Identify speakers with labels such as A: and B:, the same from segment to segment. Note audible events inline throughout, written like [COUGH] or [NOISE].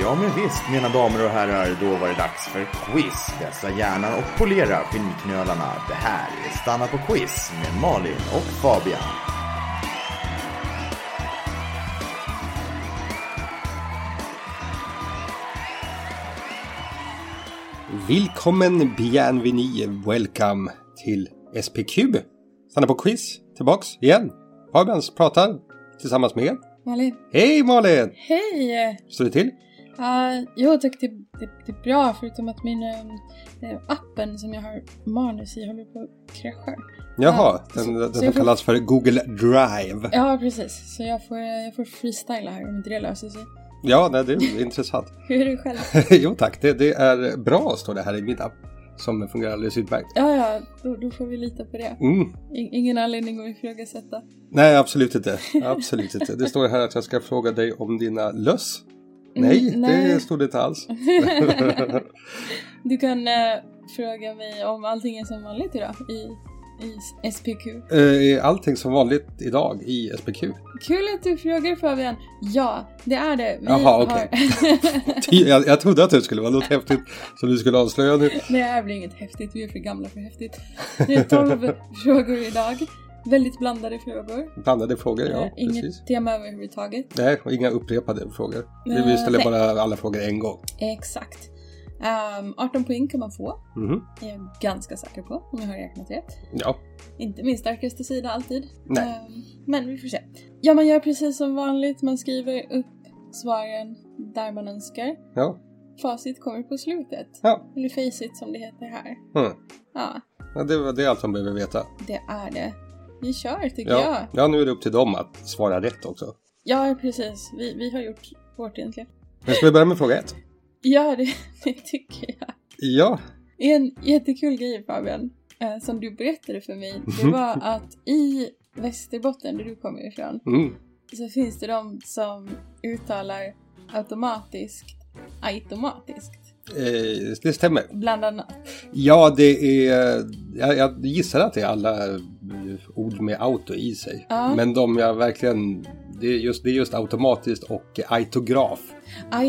A: Ja, men visst, mina damer och herrar, då var det dags för quiz. Vässa hjärnan och polera geniknölarna. Det här är Stanna på quiz med Malin och Fabian.
B: Välkommen, bienvenue, welcome till SPQ. Stanna på quiz, tillbaks igen. Fabians pratar tillsammans med er.
C: Malin.
B: Hej Malin!
C: Hej!
B: Står det till?
C: Uh, jo tack, det, det, det är bra förutom att min eh, appen som jag har manus i håller på att krascha.
B: Jaha,
C: Ja,
B: den,
C: så-
B: den
C: så
B: som
C: jag får-
B: kallas för Google Drive.
C: Ja precis, så jag får, jag får freestyla här om inte det löser sig.
B: Ja, nej, det är intressant. [LAUGHS]
C: Hur är det själv?
B: jo tack, det, det är bra står det här i min app. Som fungerar alldeles utmärkt.
C: [LAUGHS] Ja, ja, då, då får vi lita på det.
B: Mm.
C: I, ingen anledning att
B: [LAUGHS]
C: ifrågasätta.
B: Nej, absolut inte. Absolut inte. Det står här att jag ska fråga dig om dina löss.
C: Mm,
B: Nej, det
C: nej.
B: står det inte
C: [LAUGHS]
B: alls.
C: Du kan eh, fråga mig om allting är som vanligt idag i, i SPQ.
B: Eh, Är allting som vanligt idag i SPQ?
C: Kul att du frågar Fabian. Ja, det är det. Vi
B: Jaha, okej. [LAUGHS]
C: har...
B: Jag, jag trodde att det skulle vara något häftigt som du skulle avslöja nu.
C: Nej, det här blir inget häftigt. Vi är för gamla för häftigt. Det är 12
B: [LAUGHS]
C: frågor idag. Väldigt blandade frågor.
B: Blandade frågor, ja.
C: Eh, Inget
B: Precis.
C: tema överhuvudtaget.
B: Nej, och inga upprepade frågor. Vi
C: Eh,
B: ställer
C: nej.
B: bara alla frågor en gång.
C: Exakt. Ehm, 18 poäng kan man få.
B: Mhm.
C: Är jag ganska säker på om jag har räknat rätt.
B: Ja.
C: Inte min starkaste sida alltid.
B: Nej.
C: Ehm, men vi får se. Ja, man gör precis som vanligt. Man skriver upp svaren där man önskar.
B: ja.
C: Facit kommer på slutet.
B: Ja.
C: Eller facit som det heter här.
B: Mm.
C: Ja,
B: ja det, var- det är allt de behöver veta.
C: det är det. Vi kör tycker jag.
B: Ja. ja, nu är det upp till dem att svara rätt också.
C: Ja, precis. Vi, vi har gjort vårt egentligen.
B: Men ska vi börja med fråga ett?
C: Ja, det, [LAUGHS] det tycker jag.
B: Ja.
C: En jättekul grej Fabian, eh, som du berättade för mig, det
B: Mhm.
C: var att i Västerbotten, där du kommer ifrån,
B: Mm.
C: så finns det de som uttalar automatiskt, automatiskt,
B: Eh, det stämmer.
C: bland annat.
B: Ja, det är... Jag, jag gissar att det är alla eh, ord med auto i sig.
C: Ja.
B: Men de jag verkligen... Det är just, det är just automatiskt och autograf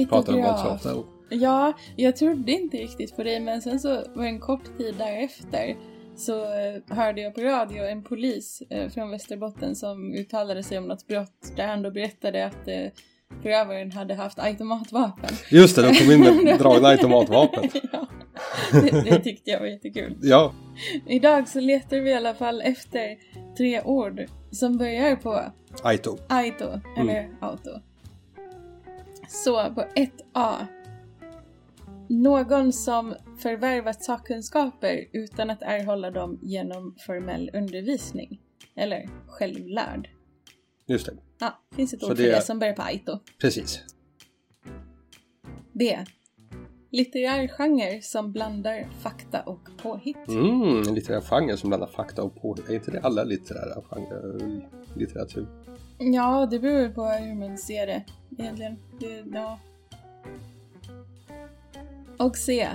B: pratar de om så
C: Autograf.
B: ofta.
C: Ja, jag trodde inte riktigt på dig, men sen så var det en kort tid därefter så eh, hörde jag på radio en polis eh, från Västerbotten som uttalade sig om något brott där han då berättade att eh, förövaren hade haft automatvapen.
B: Just det, de kom in
C: [LAUGHS]
B: med dragna automatvapen.
C: ja, det, det tyckte jag var jättekul.
B: Ja,
C: Idag så letar vi i alla fall efter tre ord som börjar på
B: Aito.
C: Aito, eller auto. Så på 1A. Någon som förvärvat sakkunskaper utan att erhålla dem genom formell undervisning. Eller självlärd.
B: Just det,
C: Ja, finns ett
B: Så
C: ord för
B: det är-
C: det som börjar på Aito.
B: precis.
C: B. Litterär genre som blandar fakta och påhitt.
B: Mm, en litterär genre som blandar fakta och påhitt. Är inte det alla litterära genrer? Litteratur?
C: Ja, det beror på hur man ser det egentligen. Det, ja. Och C.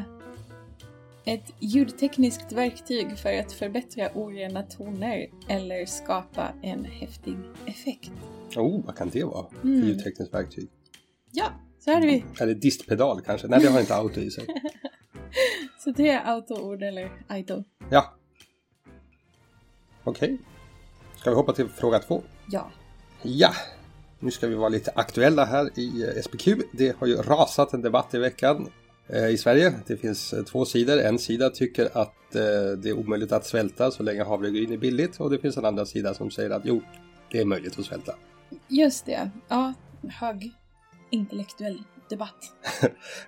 C: Ett ljudtekniskt verktyg för att förbättra orena toner eller skapa en häftig effekt.
B: Oh, vad kan det vara?
C: Mm.
B: För ljudtekniskt verktyg.
C: Ja, så hade vi.
B: Eller distpedal kanske? Nej, det har inte auto i sig.
C: Så tre autoord eller aito.
B: Ja. Okej. Ska vi hoppa till fråga två?
C: Ja.
B: Ja. Nu ska vi vara lite aktuella här i eh, SPQ. Det har ju rasat en debatt i veckan eh, i Sverige. Det finns eh, två sidor. En sida tycker att eh, det är omöjligt att svälta så länge havregryn är billigt och det finns en andra sida som säger att jo, det är möjligt att svälta.
C: Just det. Ja, hög intellektuell debatt.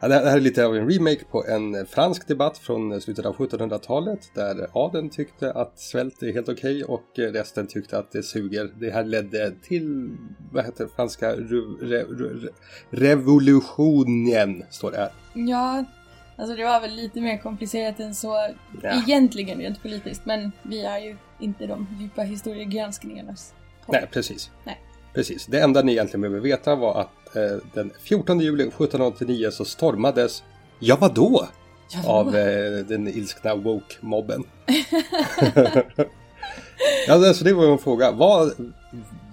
B: Ja, det här det här är lite av en remake på en eh, fransk debatt från eh, slutet av 1700-talet där adeln tyckte att svält är helt okej och eh, resten tyckte att det suger. Det här ledde till, vad heter det, franska ru- re- ru- re- revolutionen, står det här.
C: Ja, alltså det var väl lite mer komplicerat än så.
B: Ja.
C: Egentligen rent politiskt, men vi är ju inte de djupa historiegranskningarnas folk.
B: Nej, precis.
C: Nej.
B: Precis. Det enda ni egentligen behöver veta var att eh, den 14 juli 1789 så stormades, ja vadå?
C: Ja,
B: av
C: [LAUGHS] vadå?
B: eh, den ilskna woke-mobben. [LAUGHS] ja, alltså det var ju en fråga. Vad,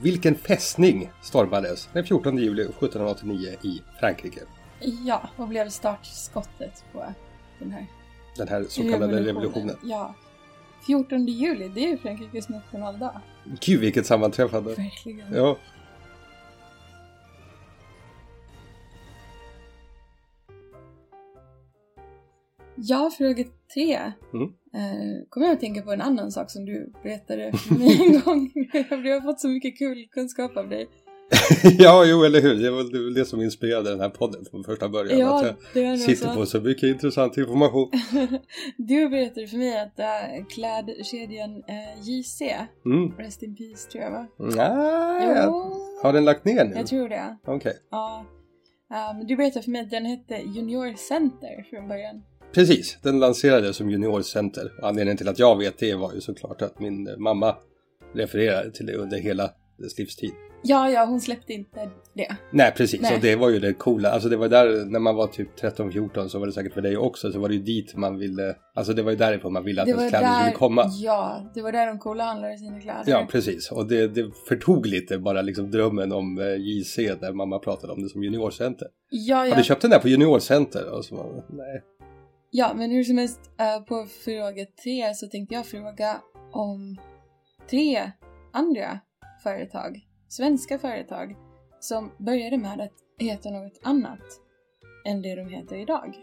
B: vilken fästning stormades den 14 juli 1789 i Frankrike?
C: Ja, och blev startskottet på den här
B: Den här så kallade revolutionen.
C: Ja. 14 juli, det är ju Frankrikes nationaldag.
B: Gud vilket
C: [LAUGHS]
B: sammanträffande!
C: Verkligen.
B: Ja. [LAUGHS]
C: Ja, fråga tre.
B: Mm.
C: Eh, kommer jag att tänka på en annan sak som du
B: [LAUGHS]
C: berättade för mig en gång. [LAUGHS] Jag har fått så mycket kul kunskap av dig.
B: ja, jo eller hur. Det var det, var det som inspirerade den här podden från första början. att jag
C: det är nog
B: sitter på så mycket intressant information.
C: Du berättade för mig att äh, klädkedjan eh, JC,
B: Mm.
C: Rest in Peace tror jag va?
B: Nej,
C: Jo,
B: har den lagt ner nu?
C: jag tror det.
B: Okej,
C: Ja. Ehm, du berättade för mig att den hette Junior Center från början.
B: precis. Den lanserades som juniorcenter. Anledningen till att jag vet det var ju såklart att min eh, mamma refererade till det under hela dess livstid.
C: Ja, ja, hon släppte inte det.
B: Nej precis,
C: Nej.
B: och det var ju det coola. Alltså det var där när man var typ 13-14 så var det säkert för dig också. Så var det ju dit man ville, alltså det var ju därifrån man ville att
C: det
B: ens kläder skulle komma.
C: Ja, det var där de coola handlade sina kläder.
B: Ja precis, och det, det förtog lite bara liksom drömmen om eh, JC där mamma pratade om det som juniorcenter.
C: ja,
B: Har du
C: ja,
B: köpt den där på juniorcenter? Och så, var- nej.
C: ja, men hur som helst eh, på fråga tre så tänkte jag fråga om tre andra företag, svenska företag, som började med att heta något annat än det de heter idag.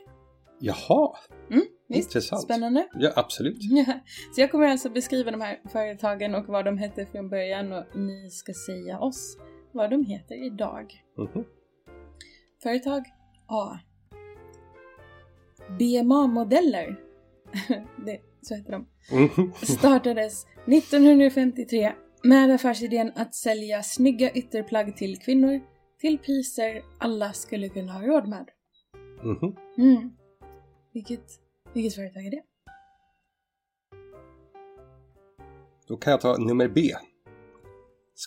B: Jaha,
C: Mm, visst?
B: intressant.
C: Spännande.
B: Ja absolut.
C: Ja, [LAUGHS] så jag kommer alltså beskriva de här företagen och vad de hette från början och ni ska säga oss vad de heter idag.
B: Mhm.
C: Företag A. BMA-modeller. [LAUGHS] Det, så heter de.
B: Mhm.
C: Startades 1953 med affärsidén att sälja snygga ytterplagg till kvinnor till priser alla skulle kunna ha råd med.
B: Mhm.
C: Mm. Vilket, vilket företag är det?
B: Då kan jag ta nummer B.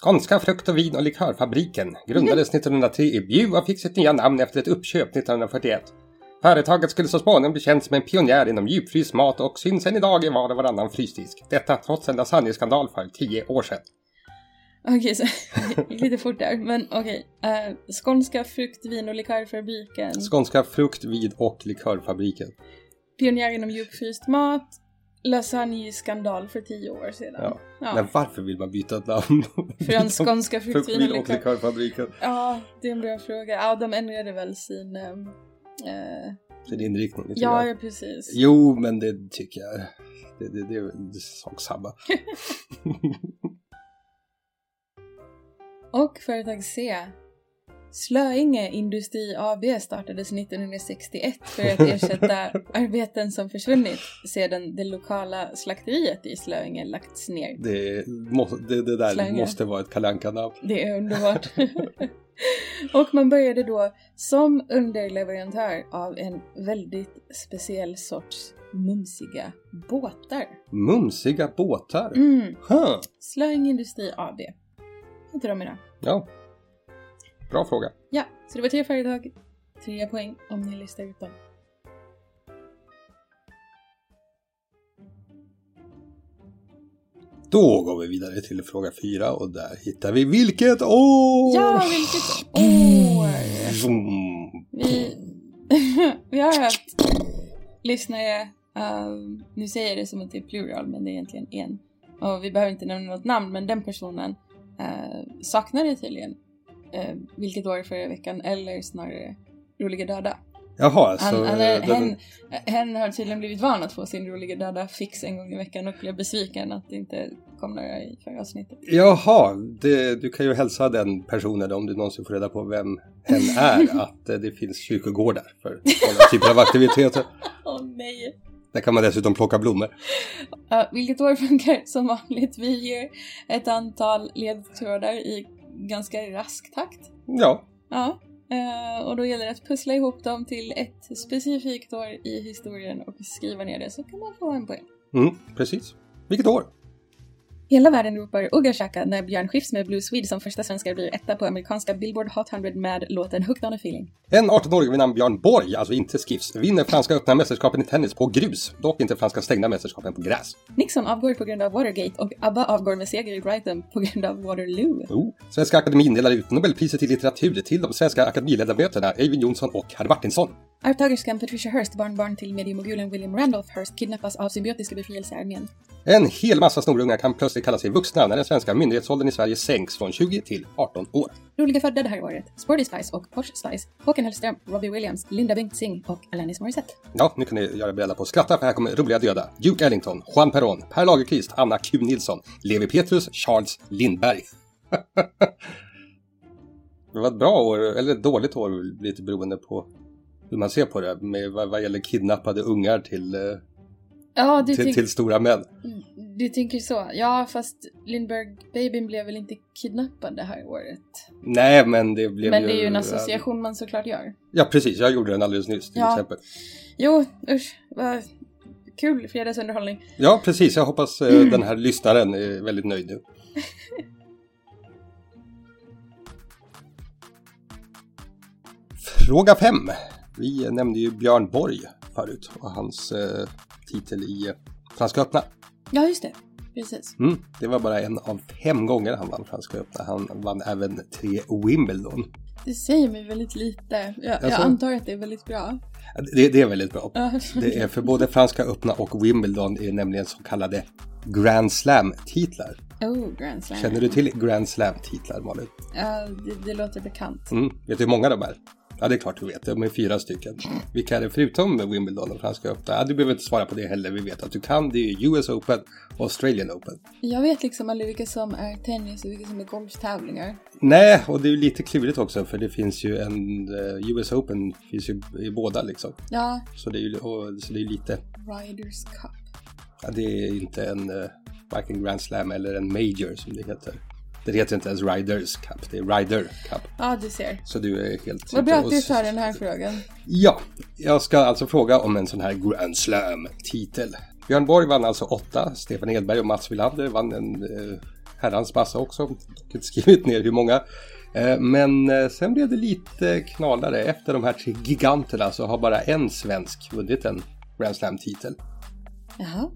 B: Skånska frukt och vin och likörfabriken grundades 1903 i Bjuv och fick sitt nya namn efter ett uppköp 1941. Företaget skulle så småningom bli känt som en pionjär inom djupfryst mat och syns än idag i var och varannan frysdisk. Detta trots en lasagneskandal för tio år sedan.
C: Okej, så [LAUGHS] det gick lite fort där. Men okej. eh, Skånska frukt, vin och likörfabriken.
B: Skånska frukt, vin och likörfabriken.
C: Pionjär inom djupfryst mat. Lasagneskandal för tio år sedan.
B: Ja, Men varför vill man byta namn?
C: Från [LAUGHS] skånska frukt,
B: frukt,
C: vin
B: vin
C: och
B: och
C: likör.
B: likörfabriken.
C: Ja, det är en bra fråga. Ja, de ändrade väl sin... ehm, eh,
B: Sin inriktning lite
C: ja,
B: grann.
C: ja, precis.
B: Jo, men det tycker jag. Det, det, det är väl sak samma.
C: Och företag C. Slöinge Industri AB startades 1961 för att [LAUGHS] ersätta arbeten som försvunnit sedan det lokala slakteriet i Slöinge lagts ner.
B: Det, må, det, det där
C: Slänger.
B: måste vara ett kalanka namn
C: Det är underbart. [LAUGHS] och man började då som underleverantör av en väldigt speciell sorts mumsiga båtar.
B: Mumsiga båtar.
C: Mm.
B: Huh.
C: Slöing Industri AB heter de idag.
B: Ja. Bra fråga.
C: Ja, så det var tre företag, tre poäng om ni listar ut dem.
B: Då går vi vidare till fråga fyra och där hittar vi vilket år!
C: Ja, vilket år!
B: Zoom.
C: Vi, [LAUGHS] vi har haft lyssnare, ehm, nu säger jag det som att det är plural men det är egentligen en. Och vi behöver inte nämna något namn men den personen uh, saknade tydligen eh, vilket år förra veckan eller snarare Roliga Döda.
B: Jaha,
C: Han,
B: så...
C: han,
B: eh,
C: hen, hen har tydligen blivit van att få sin Roliga Döda fix en gång i veckan och blev besviken att det inte kom några i förra avsnittet.
B: Jaha, det, du kan ju hälsa den personen om du någonsin får reda på vem hen
C: [LAUGHS]
B: är att eh, det finns kyrkogårdar för sådana typer av aktiviteter.
C: Åh nej!
B: Där kan man dessutom plocka blommor.
C: Ja, vilket år funkar som vanligt. Vi ger ett antal ledtrådar i ganska rask takt.
B: Ja,
C: Ja, eh, och då gäller det att pussla ihop dem till ett specifikt år i historien och skriva ner det så kan man få en poäng.
B: mm, precis. Vilket år?
C: Hela världen ropar Ugga Shaka när Björn Skifs med Blue Swede som första svenskar blir etta på amerikanska Billboard Hot 100 med låten Hooked on a feeling.
B: En 18-åring vid namn Björn Borg, alltså inte Skifs, vinner franska öppna mästerskapen i tennis på grus. Dock inte franska stängda mästerskapen på gräs.
C: Nixon avgår på grund av Watergate och ABBA avgår med seger i Brighton på grund av Waterloo.
B: Jo. Svenska Akademin delar ut Nobelpriset i litteratur till de svenska akademiledamöterna Eivind Jonsson och Herr Martinsson.
C: Arvtagerskan Patricia Hearst, barnbarn till mediemogulen William Randolph Hearst, kidnappas av symbiotiska befrielsearmén.
B: En hel massa snorungar kan plötsligt kalla sig vuxna när den svenska myndighetsåldern i Sverige sänks från 20 till 18 år.
C: Roliga födda det här året, Sporty Spice och Posh Spice, Håkan Hellström, Robbie Williams, Linda Bengt Singh och Alanis Morissette.
B: Ja, nu kan ni göra er beredda på att skratta för här kommer roliga döda. Duke Ellington, Juan Perón, Per Lagerkvist, Anna Q Nilsson, Levi Petrus, Charles Lindberg. [LAUGHS] det var ett bra år, eller ett dåligt år, lite beroende på hur man ser på det, med vad, vad gäller kidnappade ungar till, eh,
C: Ja, du,
B: till,
C: tänk,
B: till stora män.
C: du tänker så. Ja, fast Lindbergh-babyn blev väl inte kidnappad det här året?
B: Nej, men det blev
C: Men
B: ju...
C: det är ju en association man såklart gör.
B: Ja, precis. Jag gjorde den alldeles nyss, till
C: Ja.
B: exempel.
C: Jo, usch. Vad kul fredagsunderhållning.
B: Ja, precis. Jag hoppas eh, den här lyssnaren är väldigt nöjd nu. Fråga 5. Vi nämnde ju Björn Borg förut och hans eh, titel i eh, Franska öppna.
C: Ja, just det. Precis.
B: Mm. Det var bara en av fem gånger han vann Franska öppna. Han vann även tre Wimbledon.
C: Det säger mig väldigt lite. Jag, jag
B: Alltså-
C: antar att det är väldigt bra.
B: Det, det är väldigt bra.
C: Ja.
B: Det är för både Franska öppna och Wimbledon är nämligen så kallade Grand Slam-titlar.
C: [LAUGHS] Oh, Grand Slam.
B: Känner du till Grand Slam-titlar, Malin?
C: Ja, det, det låter bekant.
B: Mm. Vet du hur många de är? Ja, det är klart du vet. De är fyra stycken. Vilka är det förutom Wimbledon och Franska öppna? Ja, du behöver inte svara på det heller. Vi vet att du kan. Det är ju US Open och Australian Open.
C: Jag vet liksom aldrig vilka som är tennis och vilka som är golftävlingar.
B: Nej, och det är lite klurigt också för det finns ju en... eh, US Open finns ju i båda liksom.
C: Ja,
B: Så det är ju och, så det är lite...
C: Riders Cup.
B: Ja, det är inte en eh, varken Grand Slam eller en Major som det heter. Det heter inte ens Riders Cup. Det är Rider Cup.
C: Ja, du ser.
B: Så du är helt...
C: Vad bra att
B: och
C: du
B: så-
C: tar den här frågan.
B: Ja, jag ska alltså fråga om en sån här Grand Slam-titel. Björn Borg vann alltså åtta, Stefan Edberg och Mats Wilander vann en eh, herrans massa också. Jag har inte skrivit ner hur många. Eh, men eh, sen blev det lite knalare. Efter de här tre giganterna så har bara en svensk vunnit en Grand Slam-titel.
C: Jaha.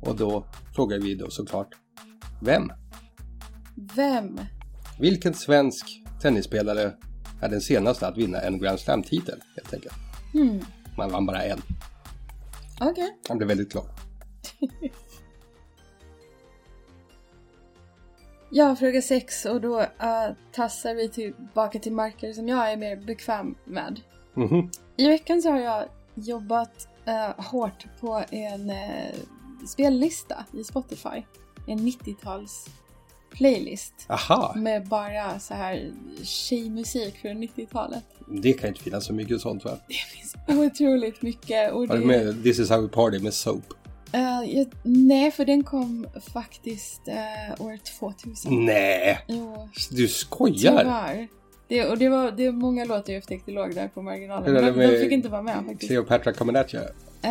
B: Och då frågar vi då såklart, vem?
C: Vem?
B: Vilken svensk tennisspelare är den senaste att vinna en Grand Slam-titel? Helt enkelt.
C: Hmm.
B: Man vann bara en.
C: Okej.
B: Han blev väldigt glad.
C: Ja, fråga sex och då eh, tassar vi tillbaka till marker som jag är mer bekväm med.
B: Mhm.
C: I veckan så har jag jobbat eh, hårt på en eh, spellista i Spotify. En 90-tals playlist
B: Aha,
C: med bara så här tjejmusik från 90-talet.
B: det kan inte finnas så mycket sånt va?
C: Det finns otroligt mycket. Och
B: Har
C: det-
B: du med This is how we party med Soap?
C: Eh, jag, nej, för den kom faktiskt eh, år 2000.
B: Nej,
C: Jo,
B: du skojar!
C: tyvärr. Det, och det var, det var många låtar jag upptäckte låg där på marginalen.
B: Hur är det
C: De, de
B: med
C: fick inte vara med faktiskt.
B: Cleopatra coming at you.
C: Eh,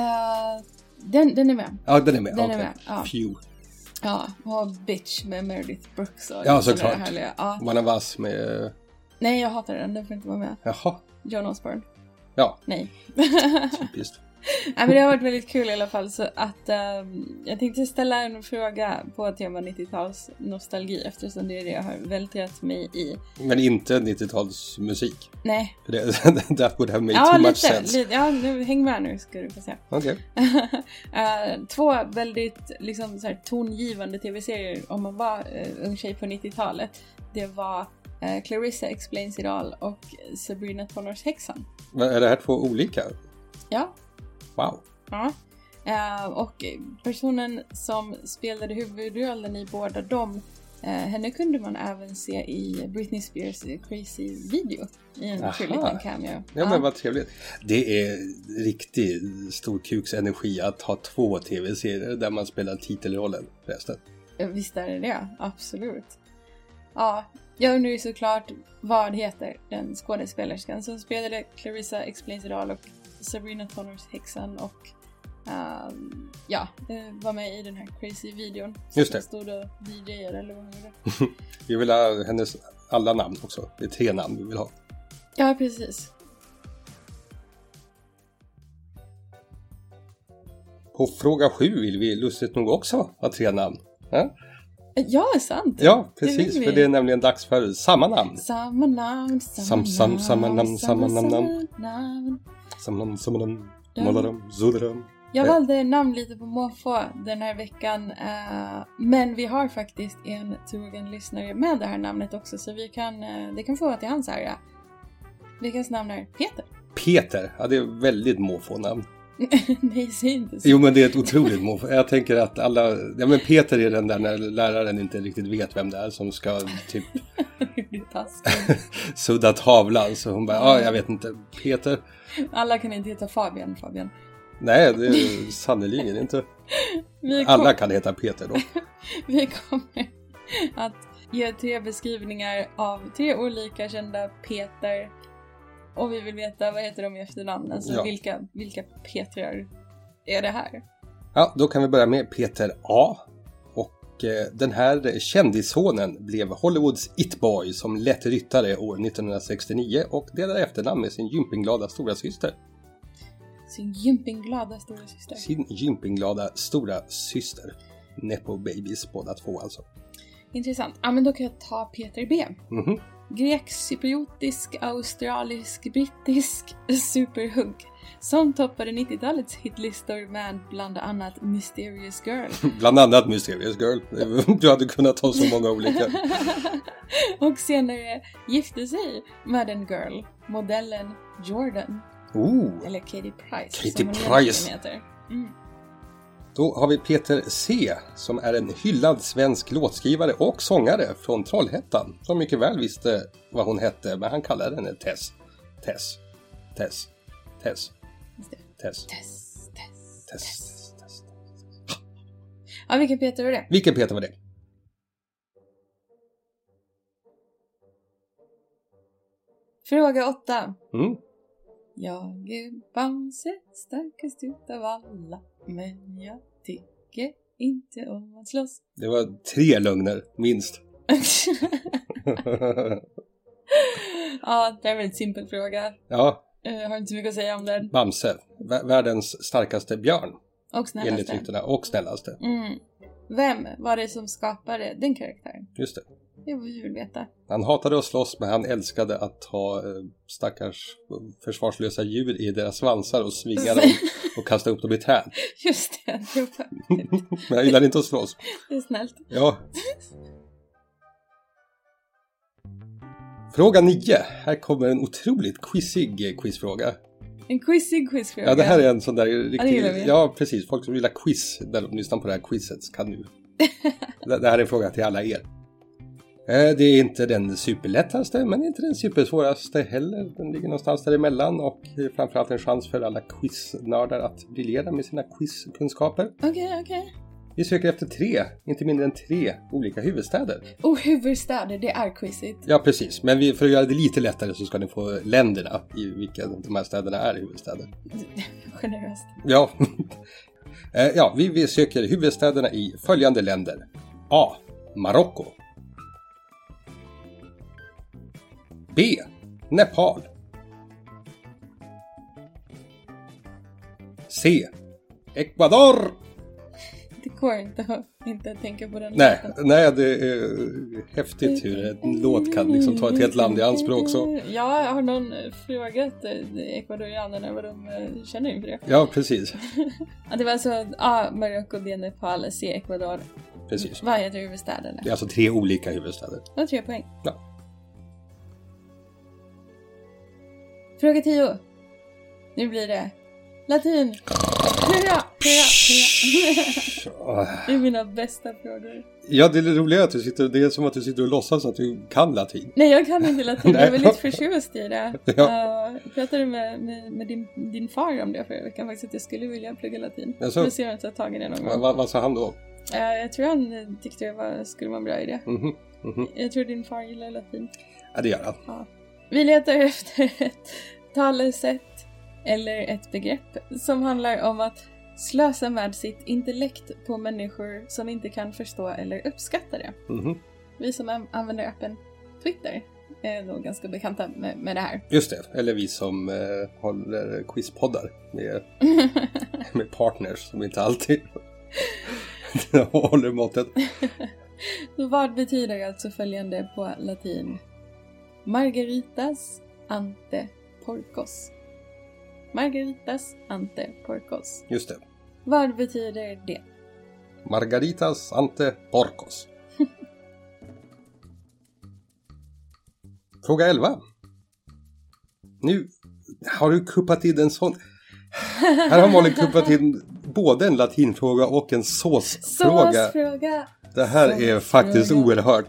C: den, den är med.
B: Ja, den är med.
C: Den är
B: okej.
C: med, ja.
B: Phew.
C: Ja, och Bitch med Meredith Brooks och
B: Ja,
C: sådana
B: såklart.
C: där härliga- Ja.
B: One of us med...
C: Nej, jag hatar den. Den får inte vara med.
B: Jaha,
C: John Osborne.
B: Ja.
C: Nej. [LAUGHS]
B: typiskt.
C: Nej, men det har varit väldigt kul i alla fall. Så att ehm, jag tänkte ställa en fråga på tema 90-tals nostalgi eftersom det är det jag har vältrat mig i.
B: Men inte 90-talsmusik.
C: Nej.
B: För det- [LAUGHS] That would have made
C: Ja,
B: too much
C: lite,
B: sense.
C: lite. Ja, nu häng med nu ska du få se. [LAUGHS]
B: Okej.
C: Eh, två väldigt liksom, så här, tongivande tv-serier om man var eh, ung tjej på 90-talet. Det var eh, Clarissa Explains It All och Sabrina tonårshäxan.
B: Men Är det här två olika?
C: Ja.
B: Wow.
C: ja. Eh, och personen som spelade huvudrollen i båda dem, eh, henne kunde man även se i Britney Spears Crazy video i en
B: Aha.
C: kul liten cameo.
B: Ja, men vad trevligt. Det är riktig storkuks energi att ha två tv-serier där man spelar titelrollen förresten.
C: Ja, eh, Visst är det det, absolut. Ja, jag undrar ju såklart vad heter den skådespelerskan som spelade Clarissa Explains It All och Sabrina Connors häxan och eh, ja, eh, var med i den här crazy videon.
B: Just det.
C: Som Stod och DJade eller vad hon gjorde.
B: Vi vill ha hennes alla namn också. Det är tre namn vi vill ha.
C: Ja, precis.
B: På fråga sju vill vi lustigt nog också ha tre namn. Ja,
C: Eh, Ja, sant!
B: ja
C: Det vill
B: precis.
C: vi.
B: för det är nämligen dags för samma namn.
C: Samma namn, samma
B: Sam- sam-
C: namn,
B: samma namn, samma namn, namn.
C: namn.
B: Samma namn, samma namn.
C: Ja.
B: Malaram, Zudaram.
C: Jag
B: Eh.
C: valde namn lite på måfå den här veckan. eh, men vi har faktiskt en trogen lyssnare med det här namnet också. Så vi kan, eh, det kan få vara till hans ära. Veckans namn är Peter. [LAUGHS]
B: Peter. Ja, det är väldigt måfå namn.
C: Nej, säg inte så.
B: Jo, men det är ett otroligt måfå. Jag tänker att alla... Ja, men Peter är den där när läraren inte riktigt vet vem det är som ska typ
C: [LAUGHS] Det är taskigt.
B: sudda tavlan. Så hon bara, ja, jag vet inte. Peter?
C: Alla kan inte heta Fabian, Fabian.
B: Nej, det är sannerligen inte.
C: Vi, kom,
B: Alla kan heta Peter då.
C: [LAUGHS] vi kommer att ge tre beskrivningar av tre olika kända Peter. Och vi vill veta vad heter de i efternamn? Alltså
B: Ja.
C: vilka, vilka Petrar är det här?
B: Ja, då kan vi börja med Peter A. Och eh, den här kändisonen blev Hollywoods It-boy som lätt ryttare år 1969 och delade efternamn med sin gympingglada stora syster.
C: Sin gympingglada stora syster.
B: Sin gympingglada stora syster. Nepo babies båda två alltså.
C: Intressant. Ja, men då kan jag ta Peter B.
B: Mhm. [LAUGHS]
C: Grekcypriotisk, australisk, brittisk superhunk. Som toppade 90-talets hitlistor med bland annat Mysterious Girl.
B: Bland annat Mysterious Girl. Du hade kunnat ta så många olika.
C: Och senare gifte sig med en girl, modellen Jordan,
B: Oh.
C: eller Katie Price
B: Katie
C: som hon
B: Price.
C: egentligen heter. Mm.
B: Då har vi Peter C som är en hyllad svensk låtskrivare och sångare från Trollhättan som mycket väl visste vad hon hette men han kallade henne Tess. Tess. Tess. Tess.
C: Just det.
B: Tess.
C: Tess, Tess, Tess.
B: Tess. Tess.
C: Ja, vilken Peter var det?
B: Vilken Peter var det?
C: Fråga åtta.
B: Mm.
C: Jag är Bamse, starkast utav alla, men jag tycker inte om att slåss. [LAUGHS]
B: Det var tre lögner, minst. [LAUGHS]
C: ja, det är en väldigt simpel fråga.
B: ja,
C: Jag har inte så mycket att säga om den.
B: Bamse. Vä- Världens starkaste björn
C: Och
B: enligt
C: snällaste.
B: ryktena och snällaste.
C: Mm. Vem var det som skapade den karaktären?
B: Just det.
C: Det vill vi väl veta.
B: Han hatade att slåss men han älskade att ta eh, stackars eh, försvarslösa djur i deras svansar och svinga
C: [LAUGHS]
B: dem och kasta upp dem i träd.
C: Just det, det var-
B: Men jag gillar inte att slåss.
C: det är snällt.
B: Ja. Fråga 9. Här kommer en otroligt quizig eh, quizfråga.
C: En quizig quizfråga.
B: Ja, det här är en sån där
C: det
B: riktig...
C: gillar vi.
B: Ja, precis. Folk som gillar quiz, när de lyssnar på det här quizet, kan
C: [LAUGHS]
B: nu. Det det här är en fråga till alla er. Eh, Det är inte den superlättaste, men inte den supersvåraste heller. Den ligger någonstans däremellan och det är framförallt en chans för alla quiznördar att briljera med sina quizkunskaper.
C: Okej, okej.
B: Vi söker efter tre, inte mindre än tre, olika huvudstäder.
C: Och huvudstäder, det är quizigt.
B: Ja, precis. Men vi, för att göra det lite lättare så ska ni få länderna i vilka de här städerna är huvudstäder.
C: Generöst.
B: Ja, [LAUGHS] Eh, ja vi, vi söker huvudstäderna i följande länder. A. Marocko. B. Nepal. C. Ecuador.
C: Det går inte att inte tänka på den
B: Nej,
C: låten.
B: nej, det är eh, häftigt hur en låt kan liksom ta ett helt land i anspråk så.
C: Ja, har någon eh, frågat eh, ecuadorianerna vad de eh, känner inför det?
B: Ja, precis.
C: Ja, Det var alltså A. Marocko, B. Nepal, C. Ecuador.
B: precis.
C: Vad heter huvudstäderna?
B: Det är alltså tre olika huvudstäder.
C: Det var tre poäng.
B: Ja.
C: Fråga 10. Nu blir det latin. Hurra, hurra, hurra. Det är mina bästa frågor.
B: Ja, det är roliga är att du sitter, det är som att du sitter och låtsas att du kan latin.
C: Nej, jag kan inte latin. Jag
B: Nej.
C: är väldigt förtjust i det.
B: [LAUGHS] Ja.
C: Ja. Jag pratade med, med, med din, din far om det förra veckan faktiskt, att jag skulle vilja plugga latin.
B: Jaså?
C: Nu ser jag inte att jag har tagit det någon
B: Va-
C: gång.
B: va- vad sa han då?
C: Eh, Jag tror han eh, tyckte det var, skulle vara en bra idé.
B: Mhm, mhm.
C: Jag tror din far gillar latin.
B: Ja, det gör han.
C: Vi letar [LAUGHS] efter ett talesätt eller ett begrepp som handlar om att slösa med sitt intellekt på människor som inte kan förstå eller uppskatta det.
B: Mhm.
C: Vi som an- använder appen Twitter är nog ganska bekanta med, med det här. [LAUGHS]
B: Just det, eller vi som eh, håller quizpoddar med, med partners som inte alltid [LAUGHS] håller måttet.
C: Så vad betyder alltså följande på latin? Margaritas ante porcos. Margaritas ante porcos.
B: Just det.
C: Vad betyder det?
B: Margaritas ante porcos. Fråga 11. Nu har du kuppat in en sån... Här har Malin
C: [LAUGHS]
B: kuppat in både en latinfråga och en såsfråga.
C: Såsfråga!
B: Det här är faktiskt
C: Såsfråga.
B: oerhört.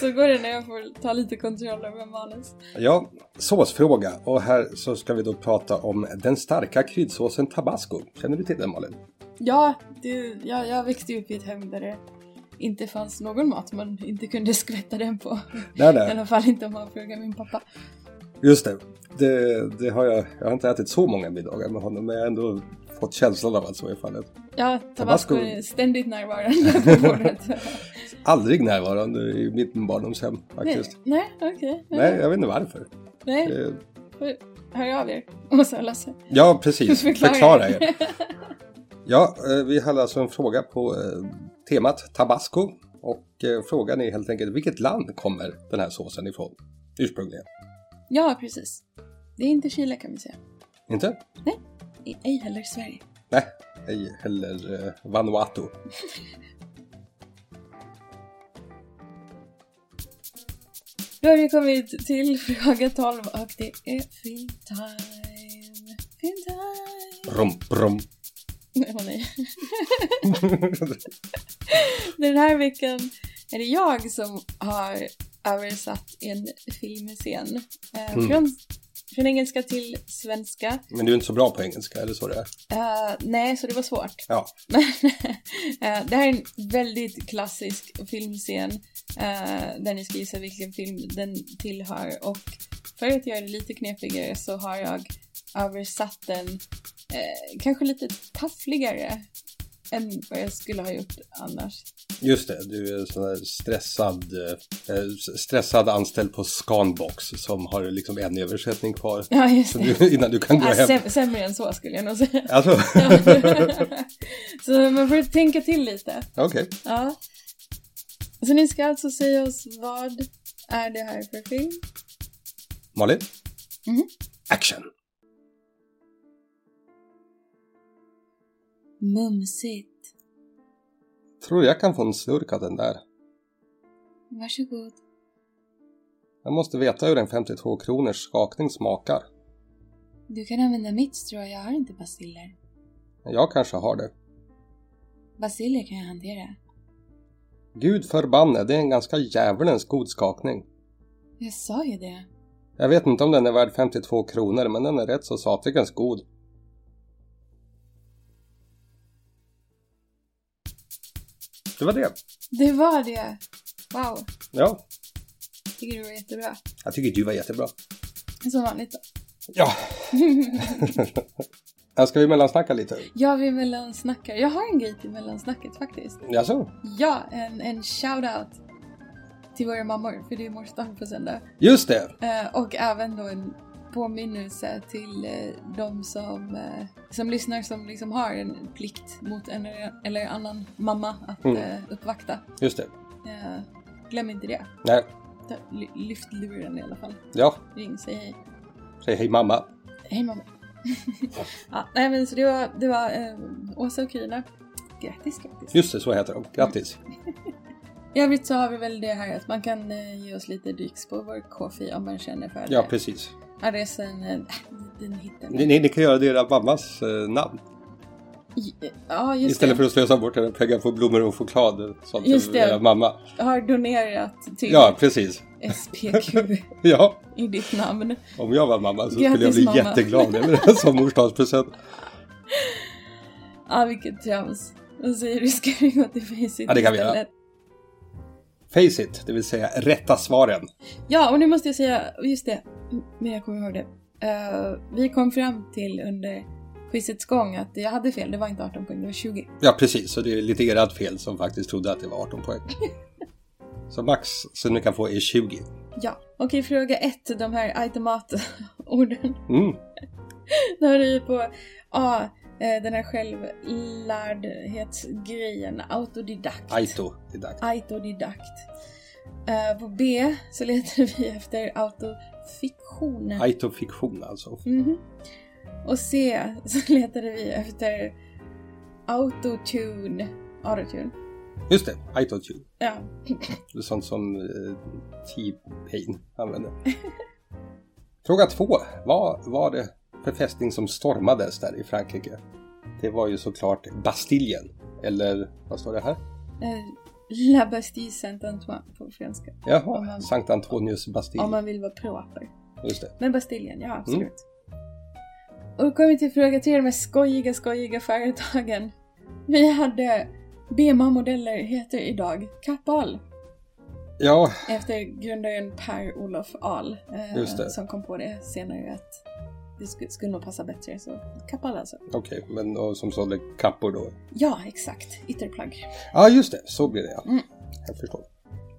C: Så går det när jag får ta lite kontroll över manus.
B: Ja, såsfråga. Och här så ska vi då prata om den starka kryddsåsen tabasco. Känner du till den Malin?
C: Ja, det, jag, jag växte upp i ett hem där det inte fanns någon mat man inte kunde skvätta den på.
B: Nej,
C: I
B: nej.
C: alla fall inte om man frågar min pappa.
B: Just det. det, det har jag, jag har inte ätit så många middagar med honom, men jag har ändå fått känslan av att så är fallet.
C: Ja, tabasco
B: Tabasco.
C: är ständigt närvarande på bordet.
B: Aldrig närvarande i mitt barndomshem
C: Nej,
B: faktiskt.
C: nej, okej.
B: Nej, jag vet inte varför.
C: nej,
B: Eh,
C: hör av er. Och så Lasse.
B: Ja, precis.
C: Förklara.
B: Förklara er. Ja, eh, vi hade alltså en fråga på eh, temat tabasco. Och eh, frågan är helt enkelt, vilket land kommer den här såsen ifrån ursprungligen?
C: [LAUGHS] Ja, precis. Det är inte Chile kan vi säga.
B: Inte?
C: I- Ej heller Sverige.
B: Nej, ej heller eh, Vanuatu.
C: Då har vi kommit till fråga 12 och det är film time. Film time.
B: Rum, rum.
C: Nej, åh nej. Den här veckan är det jag som har översatt en filmscen. Eh,
B: Mm.
C: från, från engelska till svenska.
B: [LAUGHS] Men du är inte så bra på engelska, eller så det är?
C: Eh, nej, så det var svårt. [LAUGHS]
B: Ja.
C: Men, eh, det här är en väldigt klassisk filmscen eh, där ni ska gissa vilken film den tillhör och för att göra det lite knepigare så har jag översatt den eh, kanske lite taffligare än vad jag skulle ha gjort annars. [LAUGHS]
B: Just det, du är sån här stressad, eh, s- stressad anställd på Scanbox som har liksom en översättning kvar.
C: Ja, just
B: Så
C: det.
B: du, [LAUGHS] innan du kan gå
C: Ah,
B: hem.
C: säm- sämre än så skulle jag nog säga. [LAUGHS]
B: Alltså, [LAUGHS]
C: så man får tänka till lite.
B: okej.
C: Ja. Så ni ska alltså säga oss vad är det här för film?
B: Malin?
C: Mhm.
B: Action!
C: Mumsigt.
B: Tror jag kan få en slurk av den där.
C: Varsågod.
B: Jag måste veta hur en 52 kronors skakning smakar.
C: Du kan använda mitt strå, jag har inte basiller.
B: Men Jag kanske har det.
C: Basiller kan jag hantera.
B: Gud förbanne, det är en ganska djävulens god skakning.
C: Jag sa ju det.
B: Jag vet inte om den är värd 52 kronor, men den är rätt så satligans god. Det var det.
C: Det var det! Wow,
B: Ja,
C: tycker du var jättebra.
B: jag tycker du var jättebra.
C: Som vanligt då.
B: [LAUGHS] Ja. Här ska vi mellansnacka lite.
C: Jag vill mellansnacka. Jag har en grej till mellansnacket faktiskt.
B: Jaså?
C: Ja, en, en shout-out till våra mammor, för det är mors dag på söndag.
B: Just det!
C: Eh, och även då en påminnelse till eh, de som, eh, som lyssnar som liksom har en plikt mot en eller annan mamma att
B: Mm.
C: eh, uppvakta.
B: Just det.
C: Eh, glöm inte det.
B: Nej.
C: Ta, ly- lyft luren i alla fall.
B: Ja,
C: Ring, säg hej.
B: säg hej mamma.
C: Hej mamma. [LAUGHS] ja, nej men så det var, det var eh, Åsa och Kina. Grattis, grattis.
B: Just det, så heter de. Grattis.
C: I övrigt så har vi väl det här att man kan eh, ge oss lite dricks på vår kofi om man känner för det.
B: Ja, precis.
C: Adressen, eh, den hittar
B: Ni, ni, ni kan göra deras mammas eh, namn.
C: eh, Ja, just
B: Istället
C: det.
B: för att slösa bort era pengar på blommor och choklad. eh, Sånt
C: Just
B: till
C: det.
B: Era mamma.
C: har donerat till
B: Ja, precis.
C: SPQ
B: Ja,
C: i ditt namn.
B: om jag var mamma så skulle jag
C: Grattis,
B: bli
C: mamma.
B: jätteglad över det [LAUGHS] som morsdagspresent.
C: Ah, vilket trams. Vad säger du, ska vi gå till Facit
B: Ja, det kan vi göra.
C: istället?
B: Face it, det vill säga rätta svaren.
C: Ja, och nu måste jag säga, just det, men jag kommer ihåg det. Eh, vi kom fram till under quizets gång att jag hade fel, det var inte 18 poäng, det var 20.
B: Ja, precis. Så det är lite ert fel som faktiskt trodde att det var 18
C: [LAUGHS]
B: poäng. så max som ni kan få är 20.
C: Ja, okej fråga ett, de här [LAUGHS] automatorden.
B: Mm.
C: Då har du ju på A, eh, den här självlärdhetsgrejen, autodidakt.
B: Aitodidakt.
C: Autodidakt. Eh, På B så letar vi efter autofiktion.
B: Aitofiktion alltså.
C: Mhm. Och C så [LAUGHS] letade vi efter autotune. Autotune.
B: Just det, aitotune.
C: Ja.
B: Det är sånt som eh, T-Pain
C: [LAUGHS]
B: använder. Fråga två. Vad var det för fästning som stormades där i Frankrike? Det var ju såklart Bastiljen. Eller vad står det här?
C: Eh, La Bastille Saint Antoine på franska. Om
B: Jaha,
C: man-
B: Sankt Antonius
C: Om
B: Bastilj.
C: man vill vara proper.
B: Just det.
C: Men Bastiljen,
B: Mm.
C: ja absolut. Och då kommer vi till fråga tre, de här skojiga, skojiga företagen. Vi hade BMA-modeller heter idag Kappahl.
B: Ja,
C: Efter grundaren Per-Olof Ahl. Eh,
B: Just det.
C: Som kom på det senare att det sk- skulle nog passa bättre. Så Kappahl alltså.
B: okej. Men och, som sålde kappor då.
C: Ja, exakt. Ytterplagg.
B: Ja, ah, just det. Så blir det ja.
C: Mm.
B: Jag förstår.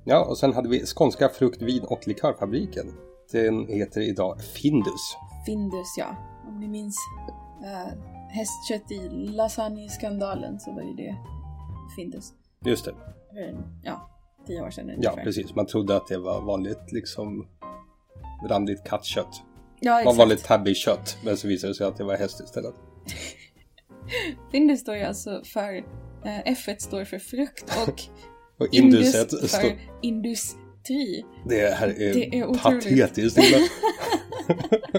B: Ja, och sen hade vi Skånska frukt, vin och likörfabriken. Den heter idag Findus.
C: Findus, ja. Om ni minns eh, hästkött i lasagne-skandalen så var ju det Findus.
B: Just det.
C: För, ja, tio år sedan
B: Ja,
C: ungefär.
B: precis. Man trodde att det var vanligt liksom randigt kattkött.
C: Ja,
B: Var
C: exakt.
B: vanligt tabbykött, men så visade det sig att det var häst istället.
C: Findus står ju alltså för... Eh, F står för frukt
B: [LAUGHS]
C: och
B: Och
C: Indus
B: induset,
C: för industri.
B: det här är,
C: Det är otroligt.
B: patetiskt. ibland.
C: [LAUGHS]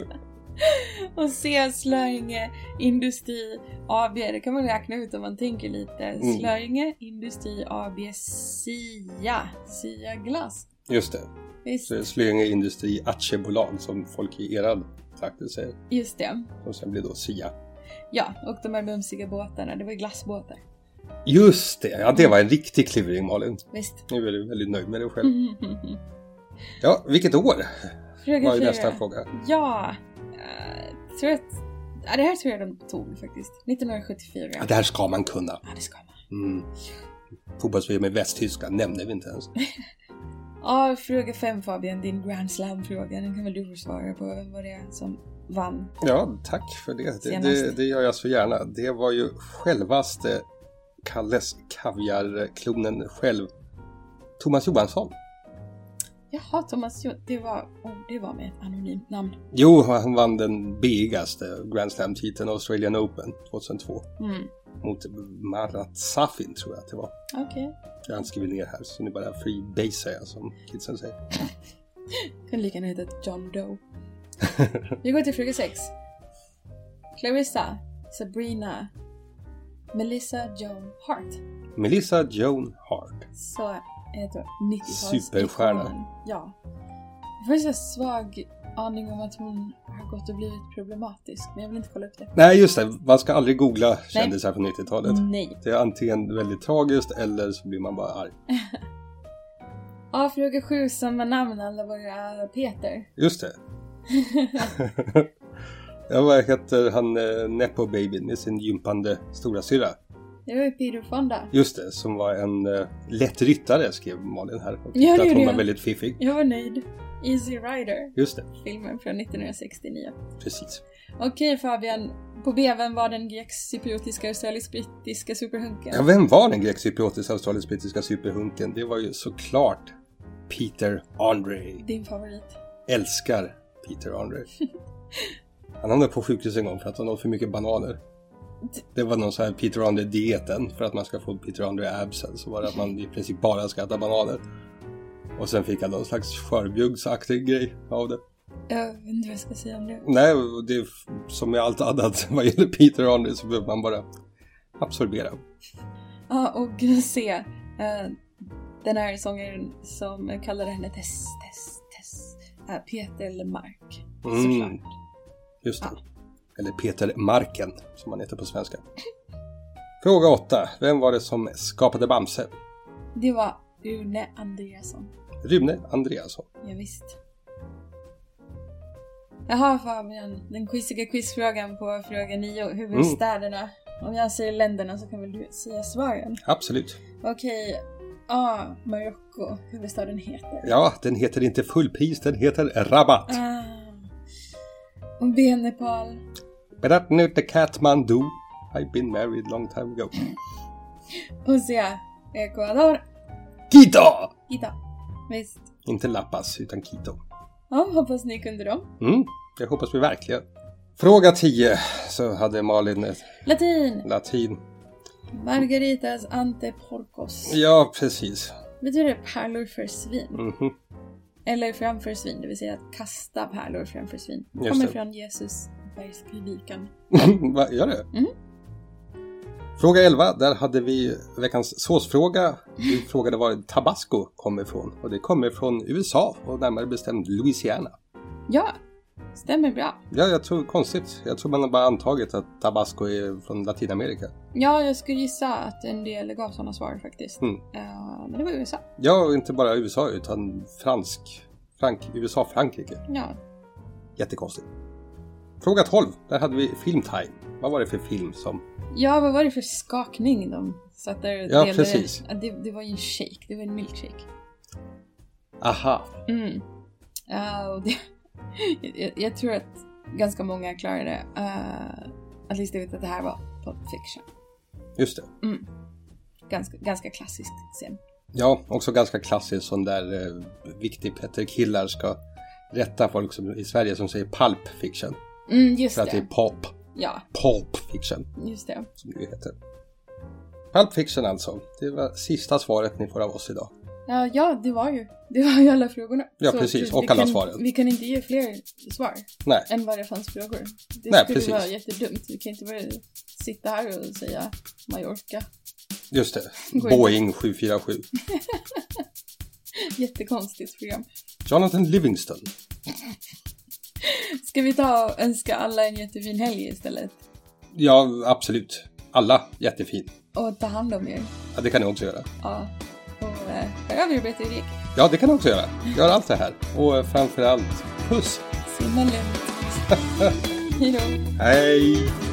C: Och C, Slöinge, Industri, AB. Det kan man räkna ut om man tänker lite.
B: Mm.
C: Slöinge, Industri, AB, SIA. SIA Glass.
B: Just det,
C: Visst,
B: så det är Slöinge Industri Aktiebolag som folk i era trakter säger.
C: just det.
B: Och sen blir då SIA.
C: Ja, och de här mumsiga båtarna. Det var ju glassbåtar.
B: Just det, ja det var en riktig kluring Malin.
C: Visst. [LAUGHS]
B: Nu är du väldigt nöjd med dig
C: Mm.
B: själv. Ja, vilket år
C: Fråga
B: var ju
C: fyra.
B: nästa fråga.
C: Ja. eh, tror jag att... Ja, det här tror jag de tog faktiskt. 1974.
B: Ja, det här ska man kunna.
C: Ja, det ska man.
B: Mm. Fotbolls-VM i Västtyskland nämnde vi inte ens.
C: Ja, fråga fem Fabian. Din Grand Slam-fråga. Den kan väl du få svara på vad det är som vann
B: Ja, tack för det. Det,
C: Senast.
B: det. det gör jag så gärna. Det var ju självaste Kalles Kaviar-klonen själv, Thomas Johansson.
C: Jaha, Thomas, Jo- det var, oh, det var med ett anonymt namn.
B: Jo, han vann den billigaste Grand Slam-titeln, Australian Open 2002,
C: Mm.
B: mot Marat Safin tror jag att det var.
C: Okej.
B: Jag har inte skrivit ner här, så nu bara free base jag som kidsen säger.
C: Kunde lika gärna hetat John Doe. Vi går till fråga sex. Clarissa, Sabrina, Melissa Joan Hart.
B: Melissa Joan Hart.
C: Så heter 90-tals
B: Superstjärna.
C: ikon. Ja. Jag har en svag aning om att hon har gått och blivit problematisk, men jag vill inte kolla upp det.
B: Nej, just det. Man ska aldrig googla kändisar från 90-talet.
C: Nej.
B: Det är antingen väldigt tragiskt eller så blir man bara arg.
C: Ja, fråga sju, samma namn alla våra Peter.
B: Just det. [LAUGHS] ja, vad heter han eh, Nepo Baby med sin gympande stora syra?
C: Det var ju Peter Fonda.
B: Just det, som var en eh, lätt ryttare skrev Malin här. Och
C: Ja, det
B: tyckte att
C: gjorde
B: hon var
C: jag.
B: väldigt fiffig.
C: Jag var nöjd. Easy Rider.
B: Just det,
C: filmen från 1969.
B: precis.
C: Okej Fabian, på B, vem var den grekcypriotiska australisk-brittiska superhunken?
B: Ja, vem var den grekcypriotiska australisk brittiska superhunken? Det var ju såklart Peter Andre.
C: Din favorit.
B: Älskar Peter
C: [LAUGHS]
B: Andre. Han hamnade på sjukhus en gång för att han åt för mycket bananer. Det var någon sån här Peter Andre-dieten för att man ska få Peter Andre-absen. Så var det att man i princip bara ska äta bananer. Och sen fick han någon slags skörbjuggsaktig grej av det.
C: Jag vet inte vad jag ska säga om det.
B: Nej, och det är f- som med allt annat [LAUGHS] vad gäller Peter Andre så behöver man bara absorbera.
C: Ja, och [LAUGHS] C, eh, den här sångaren som kallade henne Tess, Tess, Tess. eh, Peter Lemark.
B: Mm.
C: Såklart.
B: Just det. Eller Peter Marken, som han heter på svenska. Fråga 8. Vem var det som skapade Bamse?
C: Det var Rune Andreasson.
B: Rune Andreasson.
C: Ja, visst. Jaha Fabian, den quiziga quizfrågan på fråga 9, huvudstäderna. Om jag säger länderna så kan väl du säga svaren?
B: Absolut.
C: Okej, A. Marocko, huvudstaden heter.
B: Ja, den heter inte full pris, den heter Rabat.
C: Ah. Och B. Nepal.
B: But that note the Kathmandu. I've been married long time ago.
C: Och C. Ecuador.
B: Quito!
C: Gita. Visst.
B: Inte Lappas, utan Quito.
C: Ja, hoppas ni kunde dem.
B: Mm, det hoppas vi verkligen. Fråga 10 så hade Malin ett
C: Latin.
B: latin.
C: Margaritas ante porcos.
B: Ja, precis.
C: Betyder pärlor för svin.
B: Mhm. [LAUGHS]
C: Eller framför svin, det vill säga att kasta pärlor framför svin.
B: Just
C: Kommer
B: det.
C: från Jesus bergspredikan.
B: Vad gör det?
C: Mm.
B: Fråga 11, där hade vi veckans såsfråga. Du frågade var tabasco kommer ifrån. Och det kommer från USA och närmare bestämt Louisiana.
C: Ja, stämmer bra.
B: Ja, jag tror konstigt. Jag tror man har bara antagit att tabasco är från Latinamerika.
C: Ja, jag skulle gissa att en del gav sådana svar faktiskt.
B: Mm.
C: Eh, men det var USA.
B: Ja, och inte bara USA utan fransk, Frank, USA-Frankrike.
C: Ja.
B: Jättekonstigt. Fråga 12, där hade vi filmtime. Vad var det för film som...
C: ja, vad var det för skakning de satt där och
B: Ja, precis.
C: Ja, Det, det var ju en shake, det var en milkshake.
B: Aha!
C: Mm. Eh, och det, [LAUGHS] jag, jag tror att ganska många klarade uh, att lista ut att det här var Pulp Fiction.
B: Just det.
C: Ganska, ganska klassisk scen.
B: Ja, också ganska klassisk sån där eh, viktig Petter Killar ska rätta folk som, i Sverige som säger pulp fiction.
C: Mm, just
B: För att det är
C: det.
B: pop.
C: Ja,
B: Pulp fiction,
C: just det.
B: som det heter. Pulp fiction alltså. Det var sista svaret ni får av oss idag.
C: Ja, ja, det var ju. Det var ju alla frågorna.
B: Ja, precis, och
C: vi
B: alla
C: kan,
B: svaren.
C: Vi kan inte ge fler svar
B: Nej,
C: än vad det fanns frågor. Det
B: Nej,
C: skulle
B: precis.
C: vara jättedumt. Vi kan inte bara sitta här och säga Mallorca. [LAUGHS]
B: just det.
C: Går
B: Boeing 747.
C: Jättekonstigt program.
B: Jonathan Livingston.
C: Ska vi ta och önska alla en jättefin helg istället?
B: Ja, absolut. Alla jättefin.
C: Och ta hand om er.
B: Ja, det kan ni också göra.
C: Ja. Och eh, hör av er Bete Erik.
B: Ja, det kan ni också göra. Gör allt det här. Och eh, [LAUGHS] framför allt, puss!
C: Simma lugnt. Hej då.
B: Hej!